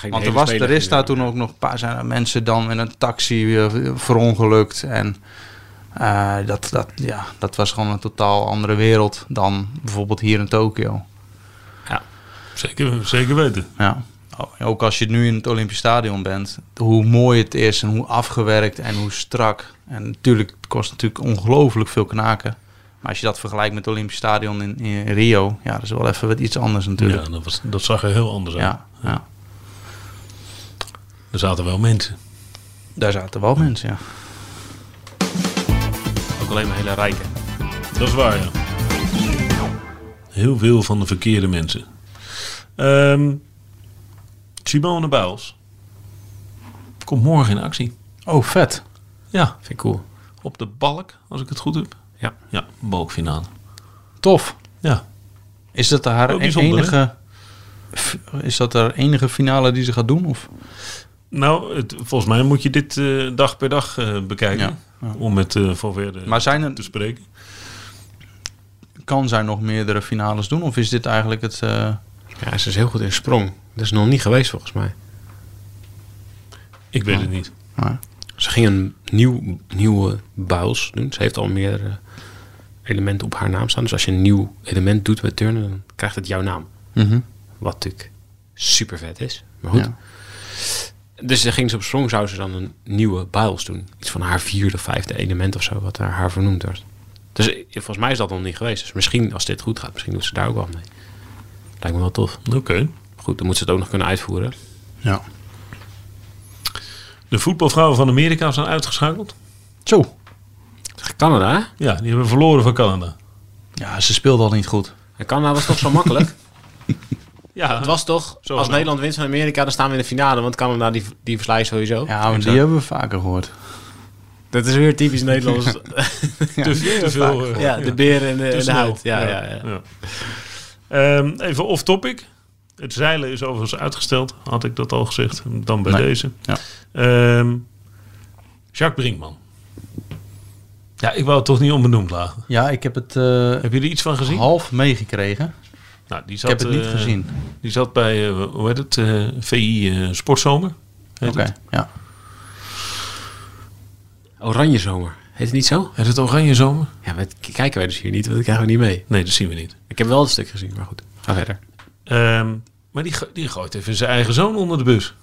want er, was, er is daar toen ook nog een paar zijn er mensen dan in een taxi weer verongelukt. En eh, dat, dat, ja, dat was gewoon een totaal andere wereld dan bijvoorbeeld hier in Tokio. Zeker, zeker weten. Ja. Ook als je nu in het Olympisch Stadion bent, hoe mooi het is en hoe afgewerkt en hoe strak. En natuurlijk, het kost natuurlijk ongelooflijk veel knaken. Maar als je dat vergelijkt met het Olympisch Stadion in, in Rio, ja, dat is wel even wat iets anders Ja, natuurlijk. dat, was, dat zag er heel anders Ja, uit. ja, Er zaten wel mensen. daar zaten wel mensen, ja. ook alleen maar hele rijke. Dat is waar, ja. Heel veel van de verkeerde mensen. Ehm Simone Biles komt morgen in actie. Oh, vet. Ja, Vind ik cool. op de balk, als ik het goed heb. Ja. Ja, balkfinale. Tof. Ja, Is dat haar Ook bijzonder, enige... f- Is dat haar enige finale die ze gaat doen? Of? nou, het, volgens mij moet je dit eh, dag per dag eh, bekijken. Ja, ja. Om met eh Valverde Maar zijn er, te spreken. kan zij nog meerdere finales doen? Of is dit eigenlijk het... eh, Ja, ze is heel goed in sprong. Dat is nog niet geweest volgens mij. Ik weet het niet. nou, Ze ging een nieuw, nieuwe buils doen. Ze heeft al meerdere elementen op haar naam staan. Dus als je een nieuw element doet bij turnen, dan krijgt het jouw naam. mhm. Wat natuurlijk super vet is. Maar goed. Ja. Dus dan ging ze op sprong, zou ze dan een nieuwe buils doen. Iets van haar vierde, vijfde element of zo, wat daar haar vernoemd wordt. Dus eh, volgens mij is dat nog niet geweest. Dus misschien, als dit goed gaat, misschien doet ze daar ook wel mee. Lijkt me wel tof. Oké. Goed, dan moet ze het ook nog kunnen uitvoeren. ja. De voetbalvrouwen van Amerika zijn uitgeschakeld. Zo. Tegen Canada, hè? Ja, die hebben verloren van Canada. Ja, ze speelde al niet goed. En Canada was toch zo [LAUGHS] makkelijk? Ja, Het was toch, Zo als wel. Nederland wint van Amerika, dan staan we in de finale. Want Canada, die, die verslijt sowieso. Ja, maar Exact. die hebben we vaker gehoord. Dat is weer typisch [LAUGHS] Nederlands. te, te veel. eh, ja, de beren en de, en de snel. hout. Ja, ja. Ja, ja. Ehm, even off topic. Het zeilen is overigens uitgesteld. Had ik dat al gezegd? Dan bij Nee. deze. Ja. Ehm, Jacques Brinkman. Ja, ik wou het toch niet onbenoemd laten. Ja, ik heb het eh, Heb je er iets van gezien? half meegekregen. Nou, die Ik heb het niet eh, gezien. Die zat bij, eh, hoe heet het, eh, VI eh, Sportzomer. Heet Oké, het? ja. Oranjezomer. Heet het niet zo? Heet het Oranje Zomer? Ja, maar dat k- kijken wij dus hier niet, want dat krijgen we niet mee. Nee, dat zien we niet. Ik heb wel een stuk gezien, maar goed. Ga verder. Ehm, maar die, go- die gooit even zijn eigen zoon onder de [LAUGHS] bus.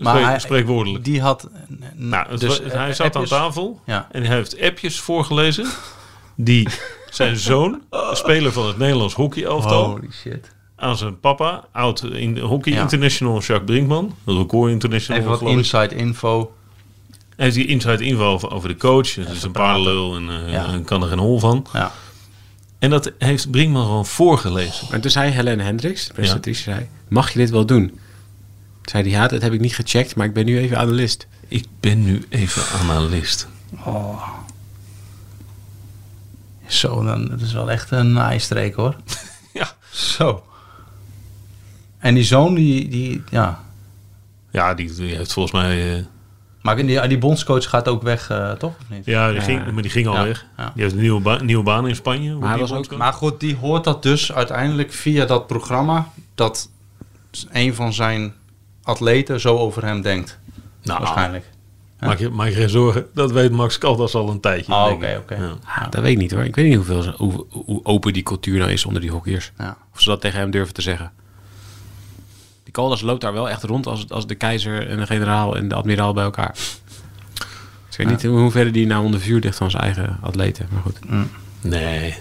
Maar Spreek- hij- spreekwoordelijk. Die had... Nou, het dus, wa- eh, hij zat appjes- aan tafel Ja. en hij heeft appjes voorgelezen die [LAUGHS] zijn zoon, speler van het Nederlands hockeyelftal, Holy shit. aan zijn papa, oud in hockey Oh. Ja. international Jacques Brinkman, record international Even wat geloof ik. inside info. Hij heeft die inside info over, over de coach, het is een parallel en eh, Ja. kan er geen hol van. Ja. En dat heeft Brinkman gewoon voorgelezen. Maar toen zei Helen Hendricks, de presentatrice, zei... Mag je dit wel doen? Toen zei die ja, dat heb ik niet gecheckt, maar ik ben nu even analist. Ik ben nu even analist. Oh. Zo, dan, dat is wel echt een ijstreek [LAUGHS] hoor. Ja. Zo. En die zoon, die, die ja. Ja, die, die heeft volgens mij... eh, Maar die, die bondscoach gaat ook weg, eh, toch? Of niet? ja, die ging, maar die ging al Ja, weg. ja. Die heeft een nieuwe, ba- nieuwe baan in Spanje. Wordt hij die was ook- bondscoach? Maar goed, die hoort dat dus uiteindelijk via dat programma dat een van zijn atleten zo over hem denkt. Ah. Nou, waarschijnlijk. Maak je, maak je geen zorgen. Dat weet Max Kaltas al een tijdje. Oh, denk oké, ik. oké. Ja. Ah, dat weet ik niet hoor. Ik weet niet hoeveel, ze- hoe, hoe open die cultuur nou is onder die hockeyers. Ja. Of ze dat tegen hem durven te zeggen. Die Caldas loopt daar wel echt rond als, als de keizer en de generaal en de admiraal bij elkaar. Dus ik weet niet in hoeverre die nou onder vuur ligt van zijn eigen atleten. Maar goed. Nee.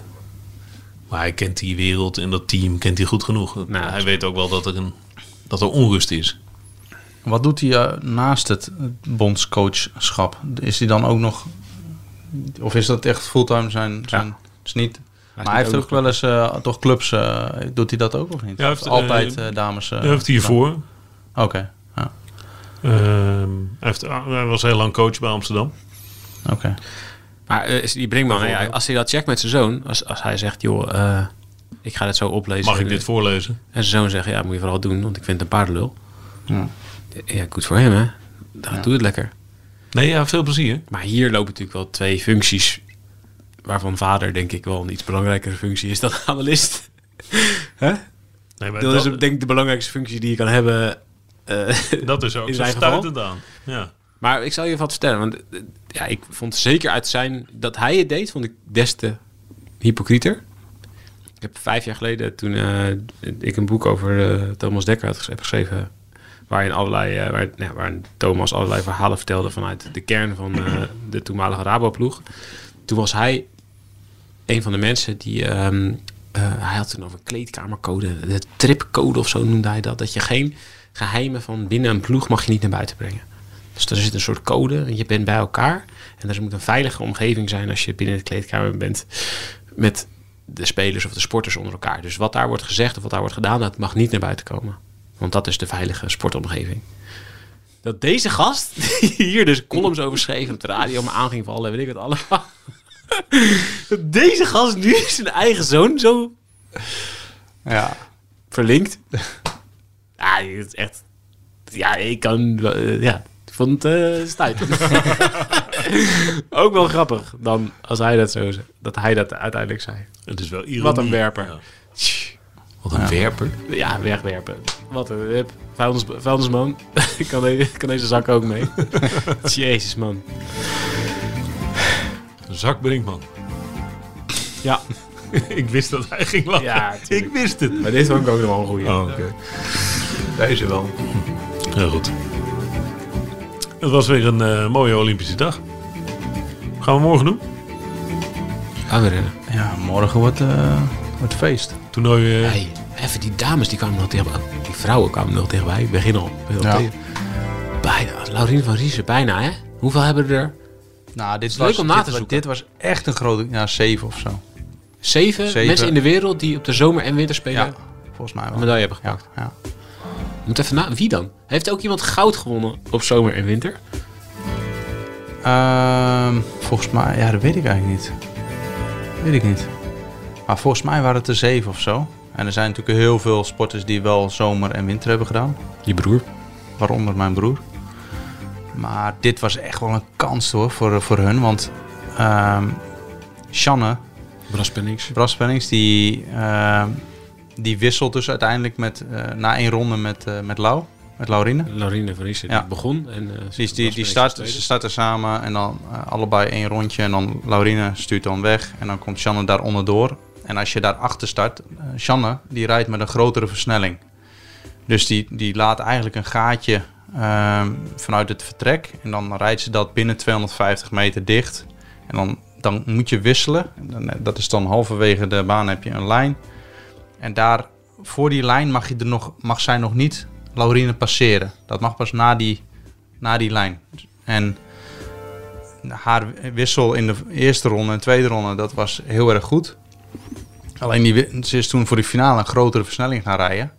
Maar hij kent die wereld en dat team kent hij goed genoeg. Nou, dat hij is- weet ook wel dat er, een, dat er onrust is. Wat doet hij eh, naast het bondscoachschap? Is hij dan ook nog... Of is dat echt fulltime zijn... zijn is niet... maar hij niet heeft ook wel eens eh, toch clubs... eh, doet hij dat ook of niet? Ja, hij heeft, Of Altijd eh, eh, dames... eh, hij heeft nou. hiervoor. Oké. Ja, ehm, hij, heeft, hij was heel lang coach bij Amsterdam. oké. Maar eh, is die Brinkman, ja, als hij dat checkt met zijn zoon, als, als hij zegt, joh, eh, ik ga dit zo oplezen. Mag ik dit voorlezen? En zijn zoon zegt, ja, moet je vooral doen, want ik vind het een paardenlul. Ja, goed voor hem, hè. Dan doe het lekker. Nee, ja, veel plezier. Maar hier lopen natuurlijk wel twee functies. Waarvan vader, denk ik, wel een iets belangrijkere functie is dan analist. Hè? Nee, maar Dat is dat, denk ik de belangrijkste functie die je kan hebben. eh, dat is ook in zo zijn geval. stuitend aan. Ja. maar ik zal je wat vertellen. Want eh, ja, ik vond zeker uit zijn... Dat hij het deed, vond ik des te hypocrieter. Ik heb vijf jaar geleden, toen eh, ik een boek over eh, Thomas Dekker had ges- heb geschreven... Waarin, allerlei, eh, waar, nou, waarin Thomas allerlei verhalen vertelde vanuit de kern van eh, de toenmalige Rabo-ploeg. Toen was hij een van de mensen die... ehm, eh, hij had toen over kleedkamercode, de tripcode of zo noemde hij dat. Dat je geen geheimen van binnen een ploeg mag je niet naar buiten brengen. Dus er zit een soort code en je bent bij elkaar. En er moet een veilige omgeving zijn als je binnen de kleedkamer bent met de spelers of de sporters onder elkaar. Dus wat daar wordt gezegd of wat daar wordt gedaan, dat mag niet naar buiten komen. Want dat is de veilige sportomgeving. Dat deze gast, [LAUGHS] die hier dus columns over schreef op de radio, maar aanging voor alle, weet ik het allemaal. Dat deze gast nu zijn eigen zoon zo Ja. verlinkt. Ja, het is echt. Ja, ik kan. wel, eh, ja, ik vond het eh, stuitend. Ook wel grappig dan als hij dat zo zei- Dat hij dat uiteindelijk zei. Het is wel ironie. Wat een werper. Ja. Tch, Wat een werper. Ja, wegwerpen. Wat een wip. Vuilnis, vuilnisman. [LAUGHS] kan, deze, kan deze zak ook mee. Jezus, man. Een zak Brinkman. [LAUGHS] Ja. ik wist dat hij ging lachen. Ja, ik tuurlijk. wist het. Maar dit vond ik ook nog wel een goeie. Oh, oké. Deze wel. Heel goed. Het was weer een eh, mooie Olympische dag. Gaan we morgen doen? Gaan we rennen. Ja, morgen wordt, eh, wordt feest. Toernooi. eh, Hey, even die dames die kwamen nog tegen Die vrouwen kwamen nog tegenbij. Ik begin al. begin al Ja. tegen. Bijna. Laurien van Riesen, bijna hè? Hoeveel hebben we er? Nou, dit leuk was, om na dit te was- zoeken. Dit was echt een grote... Ja, zeven of zo. Zeven, Zeven. mensen in de wereld die op de zomer- en winterspelen Ja, volgens mij een wel. medaille hebben Ja, gepakt. ja. Moet even na, wie dan? Heeft ook iemand goud gewonnen op zomer en winter? Ehm, volgens mij, ja, dat weet ik eigenlijk niet. Weet ik niet. Maar volgens mij waren het er zeven of zo. En er zijn natuurlijk heel veel sporters die wel zomer en winter hebben gedaan. Je broer. Waaronder mijn broer. Maar dit was echt wel een kans hoor voor, voor hun. Want ehm Shanne Bras Pennings. Braspennings, die, ehm, die wisselt dus uiteindelijk met, eh, na één ronde met, eh, met Lau. Met Laurine. Laurine van Riesen, Ja. die begon. En, eh, Bras Die, die, die Pennings start, tweede. ze starten samen en dan eh, allebei één rondje. En dan Laurine stuurt dan weg. En dan komt Shanne daar onderdoor. En als je daarachter start, eh Shanne die rijdt met een grotere versnelling. Dus die, die laat eigenlijk een gaatje ehm, vanuit het vertrek. En dan rijdt ze dat binnen 250 meter dicht. En dan, dan moet je wisselen. En dan, eh, dat is dan halverwege de baan heb je een lijn. En daar, voor die lijn mag, je er nog, mag zij nog niet Laurine passeren. Dat mag pas na die naar die lijn. En haar wissel in de eerste ronde en tweede ronde, dat was heel erg goed. Alleen die, wi- ze is toen voor de finale een grotere versnelling gaan rijden.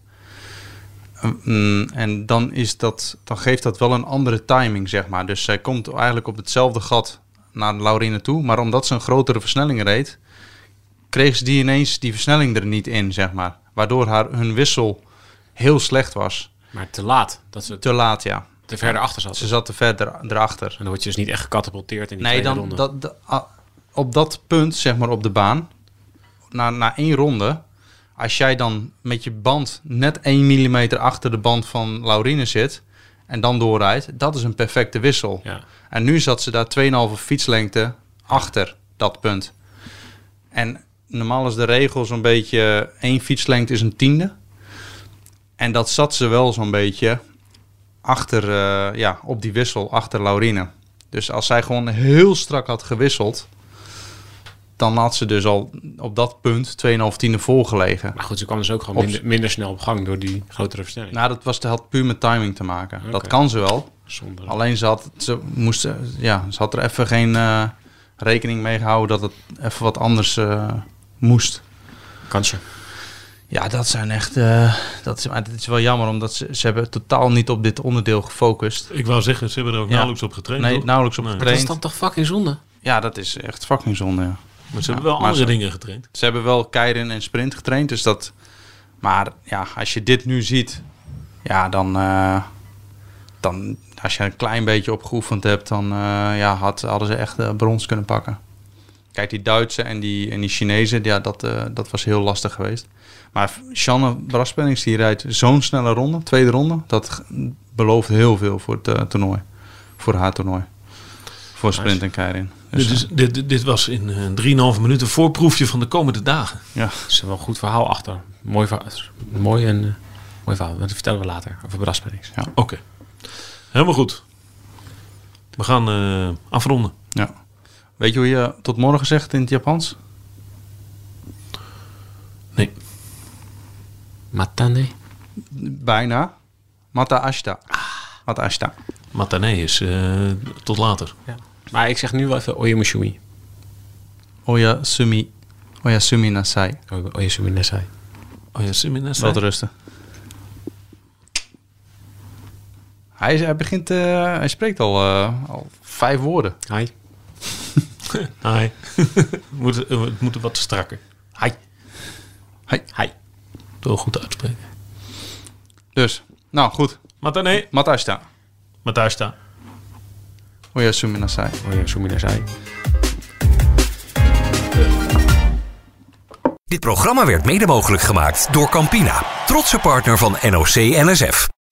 Mm, en dan, is dat, dan geeft dat wel een andere timing, zeg maar. Dus zij komt eigenlijk op hetzelfde gat naar Laurine toe. Maar omdat ze een grotere versnelling reed, kregen ze die ineens die versnelling er niet in, zeg maar. Waardoor haar, hun wissel heel slecht was. Maar te laat. Dat ze Te laat, ja. te verder achter zat. Ze En zat te verder erachter. dan word je dus niet echt gecatapulteerd in die Nee, tweede dan ronde. dat, dat- ah, op dat punt, zeg maar op de baan, na, na één ronde, als jij dan met je band net 1 mm achter de band van Laurine zit en dan doorrijdt, dat is een perfecte wissel. Ja. En nu zat ze daar 2,5 fietslengte achter dat punt. En normaal is de regel zo'n beetje één fietslengte is een tiende. En dat zat ze wel zo'n beetje achter, eh, ja, op die wissel achter Laurine. Dus als zij gewoon heel strak had gewisseld, dan had ze dus al op dat punt 2,5 tiende volgelegen. Maar goed, ze kwam dus ook gewoon Op- minder, minder snel op gang door die grotere versnelling. Nou, dat was, dat had puur met timing te maken. Dat Oké. kan ze wel. Zonder. Alleen ze had, ze moest, eh, ja, ze had er even geen eh, rekening mee gehouden dat het even wat anders eh, moest. kansje. Ja, dat zijn echt. eh, dat is, maar het is wel jammer, omdat ze, ze hebben totaal niet op dit onderdeel gefocust. Ik wou zeggen, ze hebben er ook Ja. nauwelijks op getraind. Nee, nou, toch? nauwelijks op Nee. Dat is getraind. dan toch fucking zonde? Ja, dat is echt fucking zonde. ja. Maar ze Ja, hebben wel maar andere ze- dingen getraind. Ze hebben wel keirin en sprint getraind, dus dat. Maar ja, als je dit nu ziet, ja, dan. eh, dan als je een klein beetje op geoefend hebt, dan eh, ja, had, hadden ze echt eh, brons kunnen pakken. Kijk, die Duitsen en die, en die Chinezen, ja, dat, eh, dat was heel lastig geweest. Maar Shanne Braspennings, die rijdt zo'n snelle ronde, tweede ronde. Dat g- belooft heel veel voor het eh, toernooi. Voor haar toernooi. Voor sprint en keirin. Dus, Dit, is, dit, dit was in eh 3,5 minuten een voorproefje van de komende dagen. ja. Er zit wel een goed verhaal achter. Mooi, verhaal. mooi, en, eh, mooi verhaal. Dat vertellen we later over Braspennings. Oké. Helemaal goed. We gaan eh, afronden. Ja. Weet je hoe je tot morgen zegt in het Japans? Nee. Matane. Bijna. Mata ashita. Mata ashita. Matane is eh, tot later. Maar ik zeg nu wel even Oyemushui. Oya sumi. Oya sumi nasai. Oyemushui Nesai. Oh ja, Siminas. Wat [LAUGHS] rusten. Hij, is- hij begint, eh, hij spreekt al, eh, al vijf woorden. Hi. Hi. [LAUGHS] moet, eh, het moet wat strakker. Hi. Hi. Hi. Wel goed uitspreken. Dus, nou goed. Matane. Mata ashita. Matashta. Oya sumi nasai. Oyemushui Nesai. Dit programma werd mede mogelijk gemaakt door Campina, trotse partner van NOC NSF.